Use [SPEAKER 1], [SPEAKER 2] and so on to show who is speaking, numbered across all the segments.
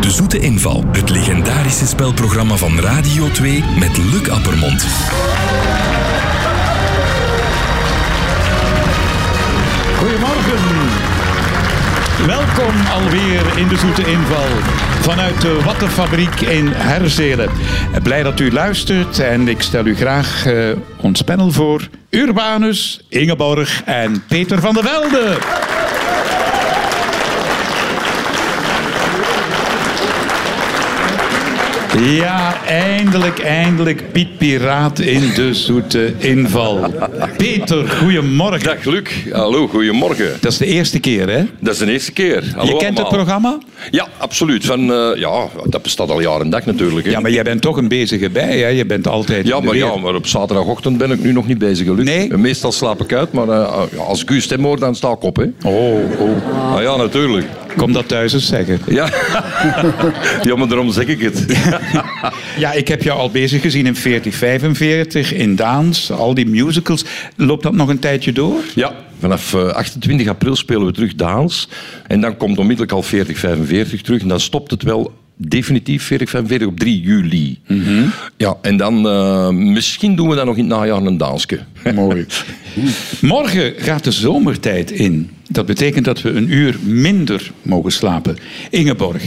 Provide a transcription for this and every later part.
[SPEAKER 1] De Zoete Inval, het legendarische spelprogramma van Radio 2 met Luc Appermond.
[SPEAKER 2] Goedemorgen. Welkom alweer in de Zoete Inval vanuit de Wattenfabriek in Herzelen. Blij dat u luistert en ik stel u graag eh, ons panel voor. Urbanus, Ingeborg en Peter van der Velde. Ja, eindelijk, eindelijk Piet Piraat in de Zoete Inval. Peter, goedemorgen.
[SPEAKER 3] Dag Luc, hallo, goedemorgen.
[SPEAKER 2] Dat is de eerste keer, hè?
[SPEAKER 3] Dat is de eerste keer. Hallo
[SPEAKER 2] je kent het
[SPEAKER 3] allemaal.
[SPEAKER 2] programma?
[SPEAKER 3] Ja, absoluut. Van, eh, ja, dat bestaat al jaren en dag natuurlijk. Hè.
[SPEAKER 2] Ja, maar jij bent toch een bezige bij, hè? Je bent altijd.
[SPEAKER 3] ja,
[SPEAKER 2] in de
[SPEAKER 3] maar,
[SPEAKER 2] weer.
[SPEAKER 3] ja, maar op zaterdagochtend ben ik nu nog niet bezig, Luc.
[SPEAKER 2] Nee?
[SPEAKER 3] Meestal slaap ik uit, maar eh, ja, als ik uw stem hoor, dan sta ik op. Hè.
[SPEAKER 2] Oh, oh.
[SPEAKER 3] Ah, ja, natuurlijk.
[SPEAKER 2] Kom dat thuis eens zeggen.
[SPEAKER 3] Ja. ja, maar daarom zeg ik het.
[SPEAKER 2] Ja, ik heb jou al bezig gezien in 4045, in Daans, al die musicals. Loopt dat nog een tijdje door?
[SPEAKER 3] Ja, vanaf eh, 28 april spelen we terug Daans. En dan komt onmiddellijk al 4045 terug. En dan stopt het wel definitief 4045 op 3 juli. Ja, en dan eh, misschien doen we dan nog in het najaar een Daanske.
[SPEAKER 2] Mooi. Morgen gaat de zomertijd in. Dat betekent dat we een uur minder mogen slapen. Ingeborg,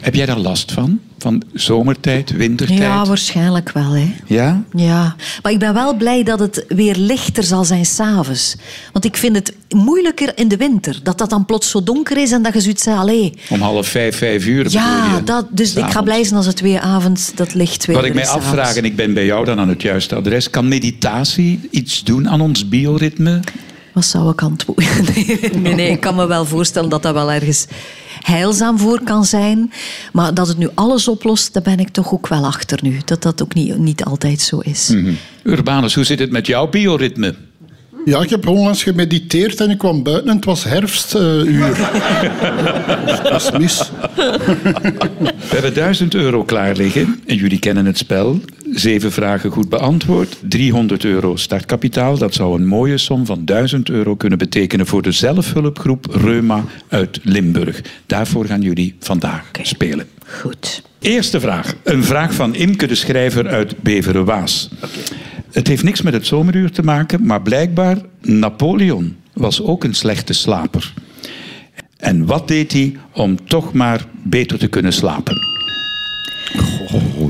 [SPEAKER 2] heb jij daar last van? Van zomertijd, wintertijd?
[SPEAKER 4] Ja, waarschijnlijk wel. Hè.
[SPEAKER 2] Ja?
[SPEAKER 4] Ja, maar ik ben wel blij dat het weer lichter zal zijn s'avonds. Want ik vind het moeilijker in de winter. Dat dat dan plots zo donker is en dat je zoiets zegt, allee.
[SPEAKER 2] Om half vijf, vijf uur. bedoel
[SPEAKER 4] Ja,
[SPEAKER 2] je?
[SPEAKER 4] dat, dus ik ga
[SPEAKER 2] S'avonds.
[SPEAKER 4] blij zijn als het weer avond dat licht weer
[SPEAKER 2] Wat ik
[SPEAKER 4] er
[SPEAKER 2] mij
[SPEAKER 4] is s'avonds.
[SPEAKER 2] afvraag, en ik ben bij jou dan aan het juiste adres, kan meditatie iets doen aan ons bioritme?
[SPEAKER 4] Wat zou ik antwoorden? Nee, nee, nee, ik kan me wel voorstellen dat dat wel ergens heilzaam voor kan zijn. Maar dat het nu alles oplost, daar ben ik toch ook wel achter nu. Dat dat ook niet, niet altijd zo is.
[SPEAKER 2] Mhm. Urbanus, hoe zit het met jouw bioritme?
[SPEAKER 5] Ja, ik heb onlangs gemediteerd en ik kwam buiten en het was herfstuur. dat is mis.
[SPEAKER 2] We hebben 1000 euro klaar liggen en jullie kennen het spel. Zeven vragen goed beantwoord, 300 euro startkapitaal. Dat zou een mooie som van 1000 euro kunnen betekenen voor de zelfhulpgroep Reuma uit Limburg. Daarvoor gaan jullie vandaag spelen.
[SPEAKER 4] Goed.
[SPEAKER 2] Eerste vraag. Een vraag van Imke de Schrijver uit Beverenwaas. Het heeft niks met het zomeruur te maken, maar blijkbaar Napoleon was ook een slechte slaper. En wat deed hij om toch maar beter te kunnen slapen?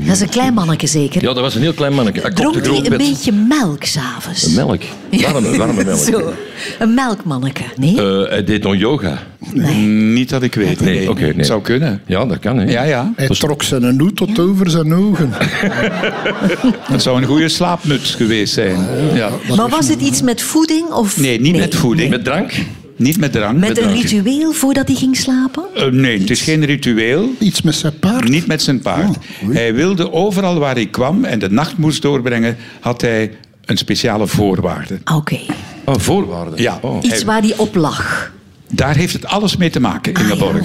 [SPEAKER 4] Dat is een klein mannetje zeker.
[SPEAKER 3] Ja, dat was een heel klein mannetje. Hij
[SPEAKER 4] Dronk
[SPEAKER 3] kopte
[SPEAKER 4] hij
[SPEAKER 3] groot
[SPEAKER 4] een
[SPEAKER 3] bed.
[SPEAKER 4] beetje melk s'avonds?
[SPEAKER 3] Melk. Warme, warme melk.
[SPEAKER 4] Zo, een melkmanneke. Nee?
[SPEAKER 3] Eh, hij deed nog yoga.
[SPEAKER 2] Niet dat ik weet.
[SPEAKER 3] Nee, oké, nee.
[SPEAKER 2] Het zou kunnen.
[SPEAKER 3] Ja, dat kan. Hè.
[SPEAKER 2] Ja, ja.
[SPEAKER 5] Hij trok zijn hoed tot over zijn ogen.
[SPEAKER 2] Het zou een goede slaapmuts geweest zijn. Ja.
[SPEAKER 4] maar was het iets met voeding? Of...
[SPEAKER 2] Nee, niet met voeding.
[SPEAKER 3] Met drank?
[SPEAKER 2] Niet met drank.
[SPEAKER 4] Met een
[SPEAKER 2] drank.
[SPEAKER 4] ritueel voordat hij ging slapen?
[SPEAKER 2] Eh, nee, het is geen ritueel.
[SPEAKER 5] Iets met zijn paard.
[SPEAKER 2] Niet met zijn paard.
[SPEAKER 5] Oh, oei.
[SPEAKER 2] hij wilde overal waar hij kwam en de nacht moest doorbrengen, had hij een speciale voorwaarde.
[SPEAKER 4] Oké.
[SPEAKER 3] Oh, voorwaarden.
[SPEAKER 2] Ja,
[SPEAKER 3] Oh.
[SPEAKER 4] Iets waar hij op lag.
[SPEAKER 2] daar heeft het alles mee te maken,
[SPEAKER 4] Ah,
[SPEAKER 2] Ingeborg.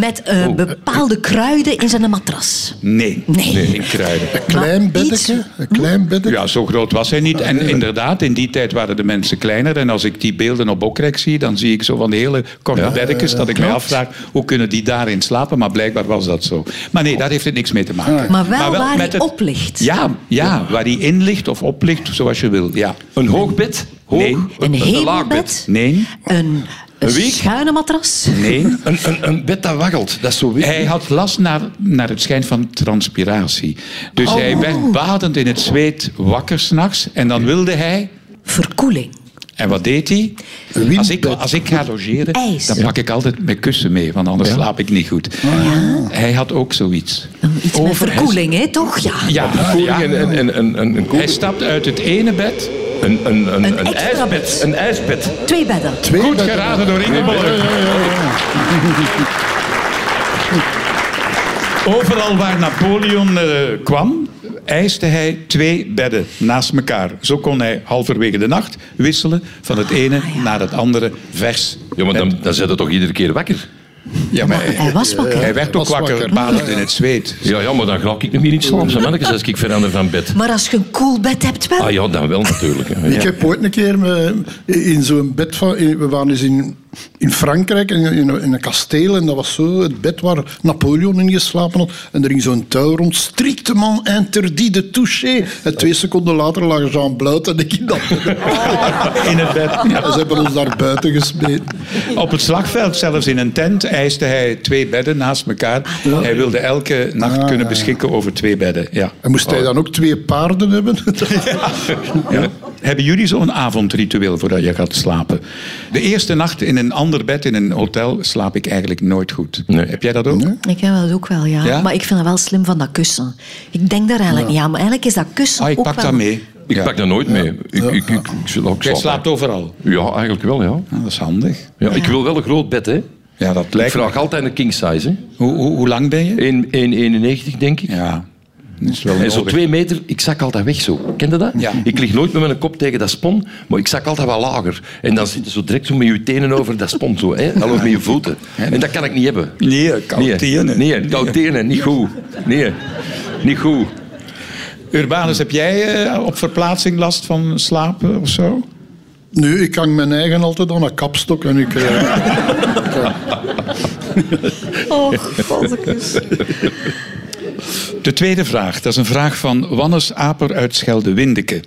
[SPEAKER 4] Met eh, bepaalde kruiden in zijn matras.
[SPEAKER 2] Nee,
[SPEAKER 4] Nee.
[SPEAKER 2] geen kruiden.
[SPEAKER 5] Klein
[SPEAKER 4] Maar iets-
[SPEAKER 5] beddeke. Een klein beddeke.
[SPEAKER 2] Ja, zo groot was hij niet. En inderdaad, in die tijd waren de mensen kleiner. En als ik die beelden op Bokrek zie, dan zie ik zo van die hele korte beddekjes. Dat ik mij afvraag, hoe kunnen die daarin slapen? Maar blijkbaar was dat zo. Maar nee, daar heeft het niks mee te maken.
[SPEAKER 4] Maar wel waar
[SPEAKER 2] met
[SPEAKER 4] hij
[SPEAKER 2] het-
[SPEAKER 4] op ligt.
[SPEAKER 2] Ja, ja, waar hij in ligt of op ligt, zoals je wil. Ja.
[SPEAKER 3] Een hoog bed? Hoog?
[SPEAKER 2] Nee.
[SPEAKER 4] Een
[SPEAKER 3] laag
[SPEAKER 4] hemelbed.
[SPEAKER 3] bed.
[SPEAKER 2] Nee,
[SPEAKER 4] Een, een
[SPEAKER 3] wieg?
[SPEAKER 4] schuine matras.
[SPEAKER 2] nee.
[SPEAKER 3] Een, een, een bed dat waggelt. Dat is zo weer.
[SPEAKER 2] Hij had last naar, naar het schijn van transpiratie. Dus
[SPEAKER 4] Oh.
[SPEAKER 2] hij werd badend in het zweet wakker s'nachts. En dan wilde hij...
[SPEAKER 4] Verkoeling.
[SPEAKER 2] En wat deed hij?
[SPEAKER 5] Een
[SPEAKER 2] Als ik,
[SPEAKER 5] windbed.
[SPEAKER 2] als ik ga logeren,
[SPEAKER 4] Ijs. Oh,
[SPEAKER 2] dan pak ik altijd mijn kussen mee. Want anders slaap ik niet goed. Hij had ook zoiets.
[SPEAKER 4] Iets met verkoeling, hè, toch? Ja.
[SPEAKER 2] Ja, ja.
[SPEAKER 3] Koeling en, en, en, en, en
[SPEAKER 2] Hij
[SPEAKER 3] koeling.
[SPEAKER 2] stapt uit het ene bed.
[SPEAKER 3] Een, een, een,
[SPEAKER 4] Een
[SPEAKER 3] een
[SPEAKER 4] extra
[SPEAKER 3] ijsbed.
[SPEAKER 4] bed.
[SPEAKER 3] Een ijsbed.
[SPEAKER 4] Twee bedden.
[SPEAKER 5] Twee
[SPEAKER 2] Goed
[SPEAKER 5] bedden.
[SPEAKER 2] geraden door Ingeborg. Overal waar Napoleon eh, kwam, eiste hij twee bedden naast elkaar. Zo kon hij halverwege de nacht
[SPEAKER 4] Ah,
[SPEAKER 2] wisselen van het ene naar het andere vers.
[SPEAKER 3] Ja, maar dan, dan zit het toch iedere keer wakker?
[SPEAKER 5] Ja, maar
[SPEAKER 4] hij was wakker.
[SPEAKER 2] Hij werd ook
[SPEAKER 5] Was wakker.
[SPEAKER 2] wakker, badend in het zweet.
[SPEAKER 3] Dus Ja, ja, maar dan ga ik niet meer in slaap. Zijn mannetjes, als ik verander van bed.
[SPEAKER 4] Maar als je een cool bed hebt wel.
[SPEAKER 3] Ah ja, dan wel natuurlijk. hè. Ja.
[SPEAKER 5] Ik heb ooit een keer eh, in zo'n bed van... in- We waren eens in, in Frankrijk, in, in, een- in een kasteel. En dat was zo het bed waar Napoleon in geslapen had. En er ging zo'n touw rond. Strictement interdit de toucher. En twee seconden later lagen ze aan bloot en ik in dat bed.
[SPEAKER 2] In het bed.
[SPEAKER 5] En ze hebben ons daar buiten gesmeten.
[SPEAKER 2] Op het slagveld, zelfs in een tent, eiste hij twee bedden naast elkaar. Hij wilde elke nacht kunnen beschikken over twee bedden. Ja.
[SPEAKER 5] Ah, En moest hij dan ook twee paarden hebben?
[SPEAKER 2] Ja. Hebben jullie zo'n avondritueel voordat je gaat slapen? De eerste nacht in een ander bed in een hotel slaap ik eigenlijk nooit goed.
[SPEAKER 3] Nee.
[SPEAKER 2] Heb jij dat ook?
[SPEAKER 4] Ik heb dat ook wel, ja.
[SPEAKER 2] Ja?
[SPEAKER 4] Maar ik vind dat wel slim van dat kussen. Ik denk daar eigenlijk niet aan, maar eigenlijk is dat kussen
[SPEAKER 2] Ah, ik
[SPEAKER 4] ook
[SPEAKER 2] pak
[SPEAKER 4] wel...
[SPEAKER 2] dat mee.
[SPEAKER 3] Ik
[SPEAKER 2] Ja.
[SPEAKER 3] pak dat nooit mee. Ik, ik, ik, ik, ik, ik
[SPEAKER 2] Jij
[SPEAKER 3] slaap-
[SPEAKER 2] slaapt overal.
[SPEAKER 3] Ja, eigenlijk wel, ja.
[SPEAKER 2] Ah, dat is handig.
[SPEAKER 3] ja. Ik wil wel een groot bed, hè.
[SPEAKER 2] Ja, dat
[SPEAKER 3] Ik
[SPEAKER 2] lijkt me.
[SPEAKER 3] vraag altijd een king size, hè.
[SPEAKER 2] Hoe, hoe, hoe lang ben je?
[SPEAKER 3] 1 1,91 denk ik.
[SPEAKER 2] Ja, dat is wel
[SPEAKER 3] En zo
[SPEAKER 2] nodig.
[SPEAKER 3] twee meter, ik zak altijd weg zo. Ken je dat?
[SPEAKER 2] Ja.
[SPEAKER 3] Ik lig nooit met mijn kop tegen dat spon, maar ik zak altijd wel lager. En dan zit je zo direct zo met je tenen over dat spon, zo, hè? Al over je voeten. En dat kan ik niet hebben.
[SPEAKER 2] Nee,
[SPEAKER 3] Nee,
[SPEAKER 2] koud tenen.
[SPEAKER 3] Nee, koud tenen, niet goed. Nee, niet goed.
[SPEAKER 2] Urbanus, heb jij eh, op verplaatsing last van slapen of zo?
[SPEAKER 5] Nu, ik hang mijn eigen altijd aan een kapstok. En ik, eh,
[SPEAKER 4] Oh, Fossekus.
[SPEAKER 2] De tweede vraag, dat is een vraag van Wannes Aper uit Schelde-Windeke.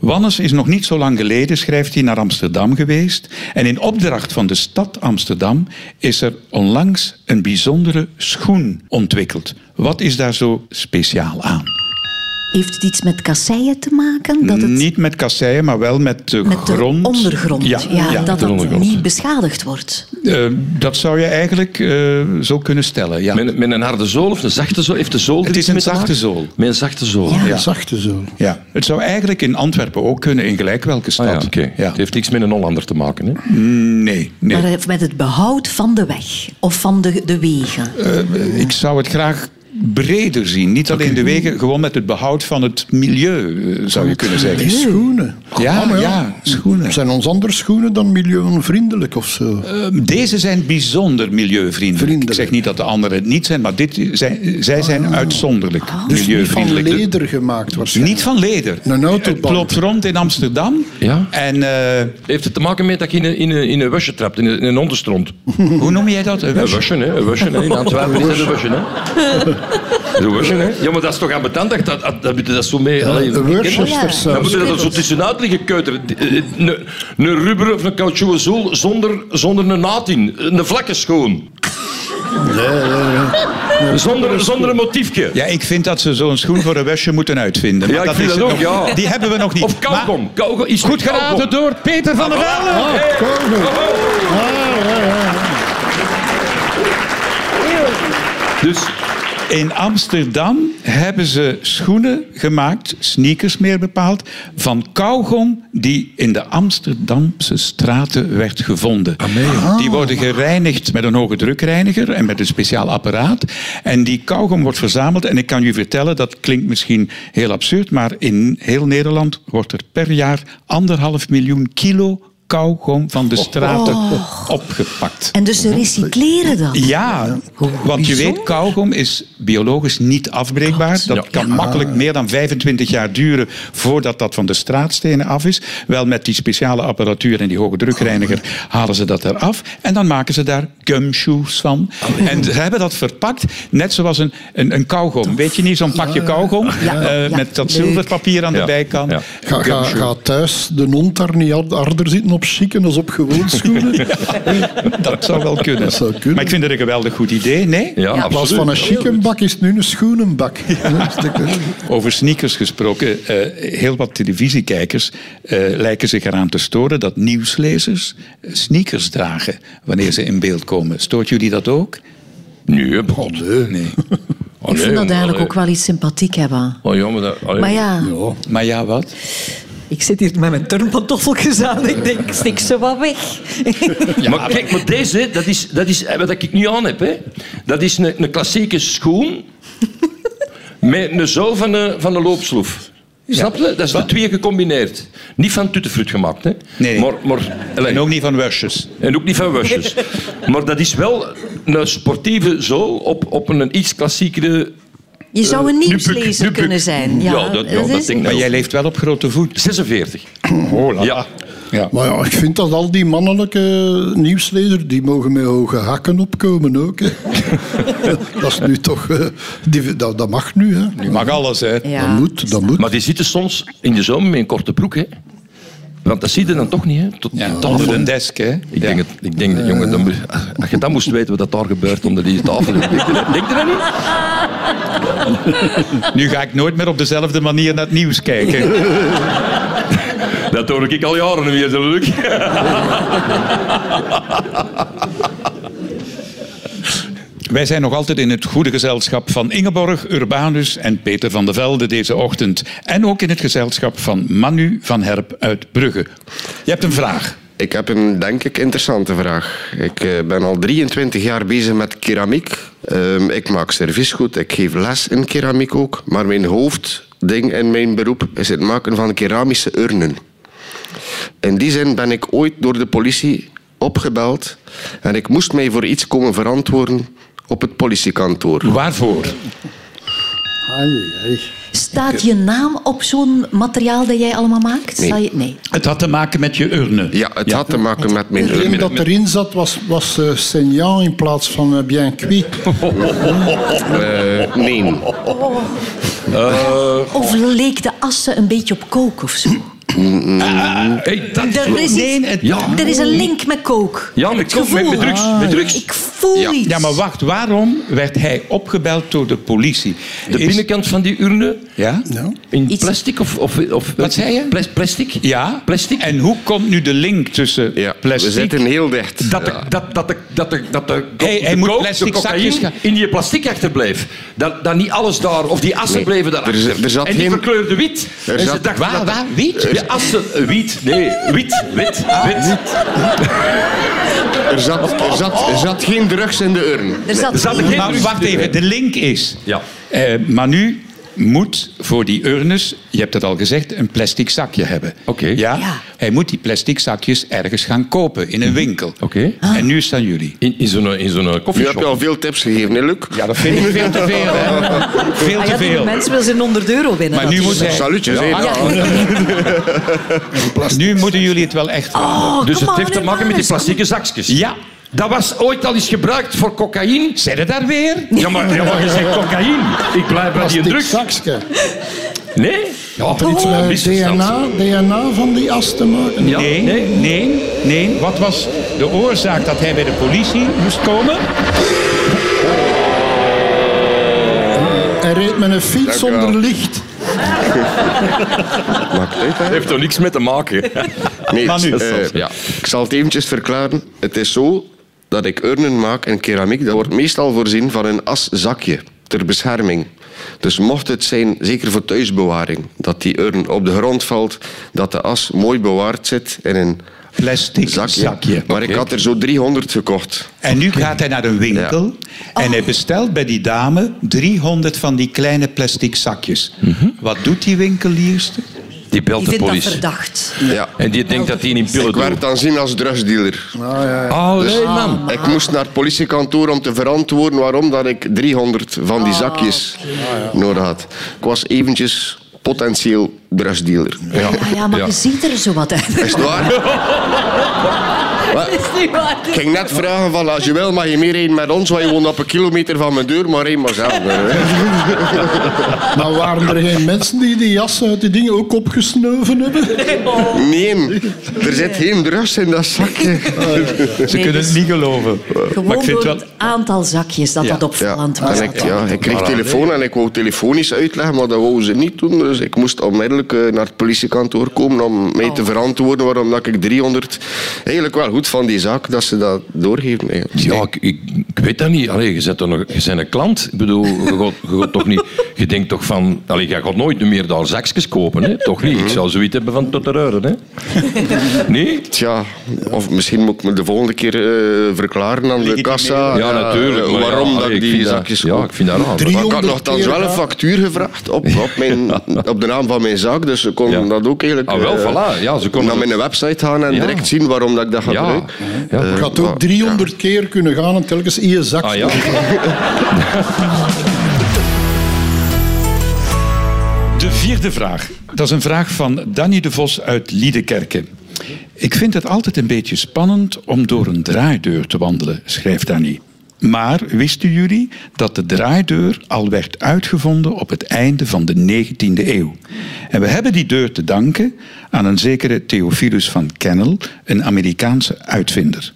[SPEAKER 2] Wannes is nog niet zo lang geleden, schrijft hij, naar Amsterdam geweest. En in opdracht van de stad Amsterdam is er onlangs een bijzondere schoen ontwikkeld. Wat is daar zo speciaal aan?
[SPEAKER 4] Heeft het iets met kasseien te maken? Dat het
[SPEAKER 2] Niet met kasseien, maar wel met de
[SPEAKER 4] met de
[SPEAKER 2] grond.
[SPEAKER 4] ondergrond, ja, dat
[SPEAKER 3] de
[SPEAKER 4] dat
[SPEAKER 3] ondergrond.
[SPEAKER 4] niet beschadigd wordt.
[SPEAKER 2] Eh, dat zou je eigenlijk eh, zo kunnen stellen, ja.
[SPEAKER 3] Met, met een harde zool of een zachte zool? Heeft de zool er
[SPEAKER 2] Het is
[SPEAKER 3] iets
[SPEAKER 2] een
[SPEAKER 3] mee te
[SPEAKER 2] zachte
[SPEAKER 3] maken?
[SPEAKER 2] zool.
[SPEAKER 3] Met een zachte zool.
[SPEAKER 4] Ja.
[SPEAKER 5] ja. Zachte zo.
[SPEAKER 2] ja. Het zou eigenlijk in Antwerpen ook kunnen, in gelijk welke
[SPEAKER 3] Ah
[SPEAKER 2] stad.
[SPEAKER 3] ja, oké. Het heeft niks met een Hollander te maken. Hè?
[SPEAKER 2] Nee, nee.
[SPEAKER 4] Maar het- met het behoud van de weg of van de, de wegen.
[SPEAKER 2] Eh, Ik zou het graag breder zien. Niet alleen de wegen, gewoon met het behoud van het milieu, eh, zou je kunnen
[SPEAKER 5] Die
[SPEAKER 2] zeggen.
[SPEAKER 5] schoenen.
[SPEAKER 2] Ja,
[SPEAKER 5] Ah, maar
[SPEAKER 2] ja, schoenen.
[SPEAKER 5] Zijn ons andere schoenen dan milieuvriendelijk of zo?
[SPEAKER 2] Eh, Deze zijn bijzonder milieuvriendelijk. Ik
[SPEAKER 5] Vriendelijk. Oh.
[SPEAKER 2] zeg niet dat de anderen het niet zijn, maar dit zijn, zij zijn uitzonderlijk
[SPEAKER 5] Dus niet van
[SPEAKER 2] milieuvriendelijk.
[SPEAKER 5] leder gemaakt waarschijnlijk.
[SPEAKER 2] Niet van leder.
[SPEAKER 5] Een autoband.
[SPEAKER 2] Het loopt rond in Amsterdam.
[SPEAKER 3] Ja.
[SPEAKER 2] En eh,
[SPEAKER 3] Heeft het te maken met dat je in een, in een, in een wasje trapt, in een, in een onderstront?
[SPEAKER 2] hoe noem jij dat? Een
[SPEAKER 3] Een
[SPEAKER 2] wash?
[SPEAKER 3] wasje, hè? Een wasje, hè? In Antwerpen is dat een wasje, hè? Een wasje, hè? Ja, maar dat is toch aan dat, dat, dat, dat, dat zo mee... Allee,
[SPEAKER 5] Een
[SPEAKER 4] Ja.
[SPEAKER 5] Worcester
[SPEAKER 3] dan
[SPEAKER 5] saus.
[SPEAKER 3] moet je dat er zo tussenuit liggen keuteren. Eh, eh, Een, een rubber of een caoutchouc zool zonder, zonder een naad in. Een vlakke schoon. Zonder, zonder een motiefje.
[SPEAKER 2] Ja, ik vind dat ze zo'n schoen voor een wasje moeten uitvinden.
[SPEAKER 3] Ja,
[SPEAKER 2] Maar
[SPEAKER 3] ik vind
[SPEAKER 2] is
[SPEAKER 3] dat
[SPEAKER 2] het
[SPEAKER 3] ook,
[SPEAKER 2] nog-
[SPEAKER 3] ja.
[SPEAKER 2] Die hebben we nog niet.
[SPEAKER 3] Of
[SPEAKER 2] Maar-
[SPEAKER 3] kauwgom. Kauwgom is Oh,
[SPEAKER 2] Goed geraden door Peter van der Velde.
[SPEAKER 3] Hey,
[SPEAKER 5] kauwgom.
[SPEAKER 3] bravo. Dus
[SPEAKER 2] In Amsterdam hebben ze schoenen gemaakt, sneakers meer bepaald, van kauwgom die in de Amsterdamse straten werd gevonden. Die worden gereinigd met een hoge drukreiniger en met een speciaal apparaat. En die kauwgom wordt verzameld. En ik kan u vertellen, dat klinkt misschien heel absurd, maar in heel Nederland wordt er per jaar anderhalf miljoen kilo kauwgom van de straten opgepakt.
[SPEAKER 4] En dus ze recycleren dat.
[SPEAKER 2] Ja, want je
[SPEAKER 4] bijzonder.
[SPEAKER 2] weet, kauwgom is biologisch niet afbreekbaar. Dat kan makkelijk meer dan 25 jaar duren voordat dat van de straatstenen af is. Wel met die speciale apparatuur en die hoge drukreiniger halen ze dat eraf. En dan maken ze daar gumshoes van. En ze hebben dat verpakt, net zoals een, een, een kauwgom. Weet je niet, zo'n pakje kauwgom
[SPEAKER 4] Ja.
[SPEAKER 2] eh,
[SPEAKER 4] Ja.
[SPEAKER 2] met dat
[SPEAKER 4] Leuk.
[SPEAKER 2] zilverpapier aan de
[SPEAKER 3] Ja.
[SPEAKER 2] bijkant.
[SPEAKER 3] Ja.
[SPEAKER 5] Ga, ga, ga thuis de hond daar niet hard- harder zitten op chicken als op gewoon schoenen.
[SPEAKER 2] Dat zou wel kunnen.
[SPEAKER 5] Dat zou kunnen.
[SPEAKER 2] Maar ik vind het een geweldig goed idee, nee?
[SPEAKER 3] Ja,
[SPEAKER 5] In plaats van een chickenbak is het nu een schoenenbak.
[SPEAKER 2] Over sneakers gesproken, eh, heel wat televisiekijkers eh, lijken zich eraan te storen dat nieuwslezers sneakers dragen wanneer ze in beeld komen. Stoort jullie dat ook?
[SPEAKER 3] Nee, god.
[SPEAKER 2] Nee.
[SPEAKER 4] ik vind dat eigenlijk ook wel iets sympathiek hebben.
[SPEAKER 3] Oh, ja, maar dat, allee.
[SPEAKER 4] Maar ja,
[SPEAKER 2] Maar ja, wat?
[SPEAKER 4] ik zit hier met mijn turnpantoffeltjes aan. Ik denk, ik stik ze wat weg.
[SPEAKER 3] maar kijk, maar deze, dat is, dat is eh, wat ik nu aan heb. Hè. Dat is een, een klassieke schoen met een zool van een, van een loopsloef. Snap je? Dat is de twee gecombineerd. Niet van tuttefrut gemaakt, hè?
[SPEAKER 2] Nee.
[SPEAKER 3] Maar, maar,
[SPEAKER 2] En ook niet van Wesjes.
[SPEAKER 3] en ook niet van wasjes. maar dat is wel een sportieve zool op, op een iets klassiekere...
[SPEAKER 4] Je zou een
[SPEAKER 3] eh,
[SPEAKER 4] nieuwslezer
[SPEAKER 3] Nupuk, Nupuk.
[SPEAKER 4] kunnen zijn. Ja,
[SPEAKER 3] dat, ja,
[SPEAKER 4] is-
[SPEAKER 3] dat denk ik
[SPEAKER 2] Maar
[SPEAKER 3] wel.
[SPEAKER 2] jij leeft wel op grote voet.
[SPEAKER 3] 46. Ja.
[SPEAKER 2] Ja.
[SPEAKER 5] Maar ja, ik vind dat al die mannelijke nieuwslezers, die mogen met hoge hakken opkomen ook. hè. dat is nu toch... eh, die, dat, dat mag nu, hè.
[SPEAKER 2] Je mag alles, hè.
[SPEAKER 4] Ja.
[SPEAKER 5] Dat moet, dat moet.
[SPEAKER 3] Maar die zitten soms in de zomer met een korte broek, hè? Want dat zie je dan toch niet, hè? Tot,
[SPEAKER 2] Ja,
[SPEAKER 3] tot-
[SPEAKER 2] onder de Eh. desk, hè.
[SPEAKER 3] Oh. Ik denk, het, ik denk dat, jongen, dan, moet- als je dat moest weten wat dat daar gebeurt onder die tafel. Denk je dat- denk je dat niet?
[SPEAKER 2] Nu ga ik nooit meer op dezelfde manier naar het nieuws kijken.
[SPEAKER 3] Dat hoor ik al jaren weer, natuurlijk.
[SPEAKER 2] Wij zijn nog altijd in het goede gezelschap van Ingeborg, Urbanus en Peter van der Velde deze ochtend. En ook in het gezelschap van Manu van Herp uit Brugge. Je hebt een vraag.
[SPEAKER 6] Ik heb een, denk ik, interessante vraag. Ik eh, ben al 23 jaar bezig met keramiek. Ehm, ik maak serviesgoed, ik geef les in keramiek ook. Maar mijn hoofdding in mijn beroep is het maken van keramische urnen. In die zin ben ik ooit door de politie opgebeld. En ik moest mij voor iets komen verantwoorden op het politiekantoor.
[SPEAKER 2] Waarvoor?
[SPEAKER 5] Ai, ai.
[SPEAKER 4] Staat
[SPEAKER 3] eh,
[SPEAKER 4] je naam op zo'n materiaal dat jij allemaal maakt?
[SPEAKER 6] Nee.
[SPEAKER 4] Zal je- nee.
[SPEAKER 2] Het had te maken met je urne.
[SPEAKER 6] Ja, het had te maken met mijn urnen.
[SPEAKER 5] Hetgeen dat erin zat was, was eh, saignant in plaats van eh, bien cuit.
[SPEAKER 6] Eh, nee.
[SPEAKER 4] Of leek de assen een beetje op kook of zo?
[SPEAKER 3] Hey, dat-
[SPEAKER 4] Er is, iets-
[SPEAKER 3] Ja.
[SPEAKER 4] er is een link met kook.
[SPEAKER 3] Ja, met
[SPEAKER 4] Het
[SPEAKER 3] kook, met-
[SPEAKER 4] gevoel. Ah,
[SPEAKER 3] met drugs, met drugs.
[SPEAKER 4] Ik voel
[SPEAKER 6] Ja.
[SPEAKER 4] iets.
[SPEAKER 2] Ja, maar wacht, waarom werd hij opgebeld door de politie?
[SPEAKER 3] de
[SPEAKER 2] Is-
[SPEAKER 3] binnenkant van die urne
[SPEAKER 2] Ja?
[SPEAKER 5] Ja.
[SPEAKER 3] in
[SPEAKER 4] Iets-
[SPEAKER 3] plastic of, of, of...
[SPEAKER 2] Wat zei je?
[SPEAKER 3] Plas- Plastic?
[SPEAKER 2] Ja,
[SPEAKER 3] Plastic?
[SPEAKER 2] En hoe komt nu de link tussen
[SPEAKER 6] Ja,
[SPEAKER 2] plastic...
[SPEAKER 6] we zitten heel dicht.
[SPEAKER 3] Dat de, dat, dat de, dat de, dat de,
[SPEAKER 2] Hij- hij
[SPEAKER 3] de
[SPEAKER 2] moet
[SPEAKER 3] kook, de
[SPEAKER 2] plastic
[SPEAKER 3] cocaïne
[SPEAKER 2] zakjes gaan-
[SPEAKER 3] in je plastic achterbleef. Dat, dat niet alles daar, of die assen
[SPEAKER 6] Nee,
[SPEAKER 3] bleven daar.
[SPEAKER 6] er is- er zat
[SPEAKER 3] en die
[SPEAKER 6] geen-
[SPEAKER 3] verkleurde wit.
[SPEAKER 6] Er
[SPEAKER 3] en ze
[SPEAKER 6] zat-
[SPEAKER 3] dachten
[SPEAKER 2] Waar,
[SPEAKER 3] dat-
[SPEAKER 2] waar, wiet? Ah,
[SPEAKER 3] De assen, eh, wiet, nee, wit, wit, wit.
[SPEAKER 6] Er zat, er, zat, er zat geen drugs in de urn.
[SPEAKER 4] Er zat
[SPEAKER 3] Er zat geen-
[SPEAKER 2] Maar wacht even, de link is...
[SPEAKER 3] Ja.
[SPEAKER 2] Eh, Manu moet voor die urnes, je hebt het al gezegd, een plastic zakje hebben.
[SPEAKER 3] Oké.
[SPEAKER 2] Ja?
[SPEAKER 4] Ja.
[SPEAKER 2] Hij moet die plastic zakjes ergens gaan kopen, in een winkel. Ah.
[SPEAKER 3] Oké.
[SPEAKER 2] En nu staan jullie.
[SPEAKER 3] In, in zo'n in zo'n eh,
[SPEAKER 6] Nu heb je
[SPEAKER 3] koffieshop.
[SPEAKER 6] al veel tips gegeven, hè, Luc?
[SPEAKER 2] Ja, dat vind ik veel te veel. Hè. Veel
[SPEAKER 4] Ah ja,
[SPEAKER 2] te
[SPEAKER 4] die
[SPEAKER 2] veel.
[SPEAKER 4] mensen wil zijn 100 euro winnen. dus-
[SPEAKER 2] Maar nu moet
[SPEAKER 4] natuurlijk.
[SPEAKER 2] hij...
[SPEAKER 6] Salutjes, hè.
[SPEAKER 2] Ja, Nu moeten jullie het wel echt raden.
[SPEAKER 4] Oh,
[SPEAKER 3] Dus
[SPEAKER 4] come
[SPEAKER 3] het
[SPEAKER 4] on,
[SPEAKER 3] heeft te maken met die
[SPEAKER 4] Urbanus.
[SPEAKER 3] plastieke zakjes.
[SPEAKER 2] Ja.
[SPEAKER 3] Dat was ooit al eens gebruikt voor cocaïne.
[SPEAKER 2] Zijn er daar weer?
[SPEAKER 3] Ja, maar, ja, maar je zegt cocaïne. Ik blijf bij die
[SPEAKER 5] Plastic
[SPEAKER 3] drugs.
[SPEAKER 5] zakje.
[SPEAKER 3] Nee? Ja,
[SPEAKER 5] Om iets eh, met DNA, DNA van die as te maken.
[SPEAKER 3] Ja,
[SPEAKER 2] Nee, nee, nee, Wat was de oorzaak dat hij bij de politie moest komen?
[SPEAKER 5] Hij reed met een fiets
[SPEAKER 6] Dank u
[SPEAKER 5] zonder
[SPEAKER 6] wel.
[SPEAKER 5] licht.
[SPEAKER 6] Maakt uit, hè?
[SPEAKER 3] heeft er niks mee te maken.
[SPEAKER 6] Nee,
[SPEAKER 2] Maar nu.
[SPEAKER 6] eh,
[SPEAKER 3] Ja.
[SPEAKER 6] ik zal het eventjes verklaren. Het is zo dat ik urnen maak en keramiek. Dat wordt meestal voorzien van een aszakje ter bescherming. Dus mocht het zijn, zeker voor thuisbewaring, dat die urn op de grond valt, dat de as mooi bewaard zit in een
[SPEAKER 2] Plastic
[SPEAKER 6] zakje.
[SPEAKER 2] zakje.
[SPEAKER 6] Maar ik had er zo 300 gekocht.
[SPEAKER 2] En nu gaat hij naar een winkel en
[SPEAKER 4] Oh.
[SPEAKER 2] hij bestelt bij die dame 300 van die kleine plastic zakjes. Wat doet die winkelierste?
[SPEAKER 3] Die belt
[SPEAKER 4] Die
[SPEAKER 3] de
[SPEAKER 4] vindt dat
[SPEAKER 3] politie.
[SPEAKER 4] verdacht.
[SPEAKER 6] Ja.
[SPEAKER 3] En die denkt dat hij in pillen
[SPEAKER 6] Ik Dus- werd
[SPEAKER 3] doet.
[SPEAKER 6] dan zien als drugsdealer.
[SPEAKER 3] Allee, man.
[SPEAKER 6] Ik moest naar het politiekantoor om te verantwoorden waarom dat ik 300 van die zakjes nodig had. Ik was eventjes potentieel drugsdealer. Ja.
[SPEAKER 4] Ah ja, maar
[SPEAKER 3] Ja.
[SPEAKER 4] je ziet er zo wat uit.
[SPEAKER 6] Is het waar?
[SPEAKER 4] Dat is niet waar.
[SPEAKER 6] Ik ging net vragen van als je wil mag je meerijden met ons, want je woont op een kilometer van mijn deur, maar rij maar zelf. eh, hè.
[SPEAKER 5] Maar waren er geen mensen die die jas uit die dingen ook opgesnoven hebben?
[SPEAKER 6] Nee, er zit geen drugs in dat zakje.
[SPEAKER 2] Ze
[SPEAKER 4] Nee,
[SPEAKER 2] kunnen
[SPEAKER 4] dus
[SPEAKER 2] het niet geloven. Maar ik
[SPEAKER 4] Gewoon
[SPEAKER 2] vind
[SPEAKER 4] door
[SPEAKER 2] wel...
[SPEAKER 4] het aantal zakjes dat
[SPEAKER 2] Ja.
[SPEAKER 4] dat
[SPEAKER 6] Ja.
[SPEAKER 4] opvallend was.
[SPEAKER 6] En ik, ja, ik kreeg telefoon en ik wou telefonisch uitleggen, maar dat wouden ze niet doen. Dus ik moest
[SPEAKER 4] Oh.
[SPEAKER 6] onmiddellijk eh, naar het politiekantoor komen om mij te verantwoorden waarom dat ik 300, eigenlijk wel goed van die zaak dat ze dat doorgeven. eigenlijk.
[SPEAKER 3] Ja, ik, ik, ik weet dat niet. Allee, je, zet er nog, je bent een klant. Ik bedoel, je, gaat, je gaat toch niet... Je denkt toch van... Allee, je gaat nooit meer daar zakjes kopen, hè? Toch niet? Ik zou zoiets hebben van tot de reuren, hè? Nee?
[SPEAKER 6] Tja, of misschien moet ik me de volgende keer eh, verklaren aan de kassa.
[SPEAKER 3] Ja, natuurlijk.
[SPEAKER 6] eh,
[SPEAKER 3] maar ja,
[SPEAKER 6] waarom dat
[SPEAKER 3] allee,
[SPEAKER 6] ik
[SPEAKER 3] ik
[SPEAKER 6] die
[SPEAKER 3] vind dat-
[SPEAKER 6] zakjes
[SPEAKER 3] Ja,
[SPEAKER 6] koop.
[SPEAKER 3] ik vind dat raar.
[SPEAKER 5] Drie-
[SPEAKER 6] Maar ik had
[SPEAKER 5] 300
[SPEAKER 6] nogthans
[SPEAKER 5] keer
[SPEAKER 6] wel een
[SPEAKER 5] gedaan.
[SPEAKER 6] factuur gevraagd op, op, mijn, op de naam van mijn zaak, dus ze konden
[SPEAKER 3] Ja.
[SPEAKER 6] dat ook eigenlijk...
[SPEAKER 3] Ah, wel,
[SPEAKER 6] eh,
[SPEAKER 3] voilà. Ja, ze konden
[SPEAKER 6] naar
[SPEAKER 3] dat-
[SPEAKER 6] mijn website gaan en
[SPEAKER 3] Ja.
[SPEAKER 6] direct zien waarom dat ik dat ga
[SPEAKER 3] Ja.
[SPEAKER 6] gebruiken.
[SPEAKER 3] Ja.
[SPEAKER 5] Je had ook 300 keer kunnen gaan en telkens in je zak.
[SPEAKER 3] Ah ja?
[SPEAKER 2] De vierde vraag. Dat is een vraag van Danny de Vos uit Liedekerke. Ik vind het altijd een beetje spannend om door een draaideur te wandelen, schrijft Danny. Maar wisten jullie dat de draaideur al werd uitgevonden op het einde van de 19e eeuw? En we hebben die deur te danken aan een zekere Theophilus van Kennel, een Amerikaanse uitvinder.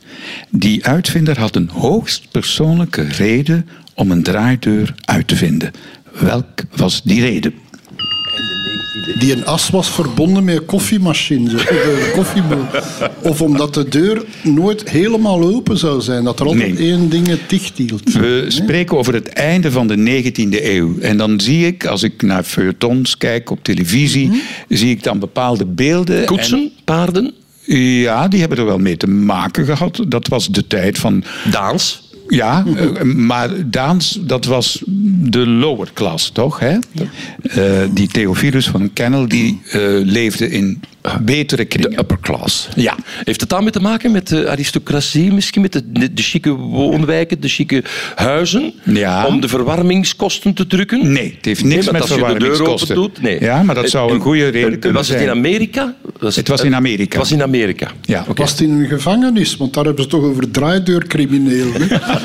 [SPEAKER 2] Die uitvinder had een hoogst persoonlijke reden om een draaideur uit te vinden. Welk was die reden?
[SPEAKER 5] Die een as was verbonden met een koffiemachine. zo, of een koffieboel. Of omdat de deur nooit helemaal open zou zijn. Dat er altijd
[SPEAKER 2] Nee.
[SPEAKER 5] één ding het dicht hield.
[SPEAKER 2] We spreken over het einde van de 19e eeuw. En dan zie ik, als ik naar feuilletons kijk op televisie, zie ik dan bepaalde beelden.
[SPEAKER 3] Koetsen? Paarden?
[SPEAKER 2] En- ja, die hebben er wel mee te maken gehad. Dat was de tijd van.
[SPEAKER 3] Daans?
[SPEAKER 2] Ja, eh, maar Daans, dat was de lower class, toch? Hè? Eh, die Theophilus van Kennel, die eh, leefde in betere
[SPEAKER 3] De
[SPEAKER 2] kringen.
[SPEAKER 3] upper class.
[SPEAKER 2] Ja.
[SPEAKER 3] Heeft het daarmee te maken met de aristocratie misschien? Met de, de, de chique woonwijken, de chique huizen?
[SPEAKER 2] Ja.
[SPEAKER 3] Om de verwarmingskosten te drukken?
[SPEAKER 2] Nee, het heeft niks
[SPEAKER 3] maar
[SPEAKER 2] met
[SPEAKER 3] als je de deur
[SPEAKER 2] verwarmingskosten.
[SPEAKER 3] open doet, nee.
[SPEAKER 2] Ja, maar dat zou een goede reden
[SPEAKER 3] En- en
[SPEAKER 2] kunnen
[SPEAKER 3] Was het in
[SPEAKER 2] zijn.
[SPEAKER 3] Amerika? Was
[SPEAKER 2] Het was in Amerika.
[SPEAKER 3] Het was in Amerika.
[SPEAKER 2] Ja.
[SPEAKER 5] Was het in een gevangenis? Want daar hebben ze toch over draaideurcriminelen. hè?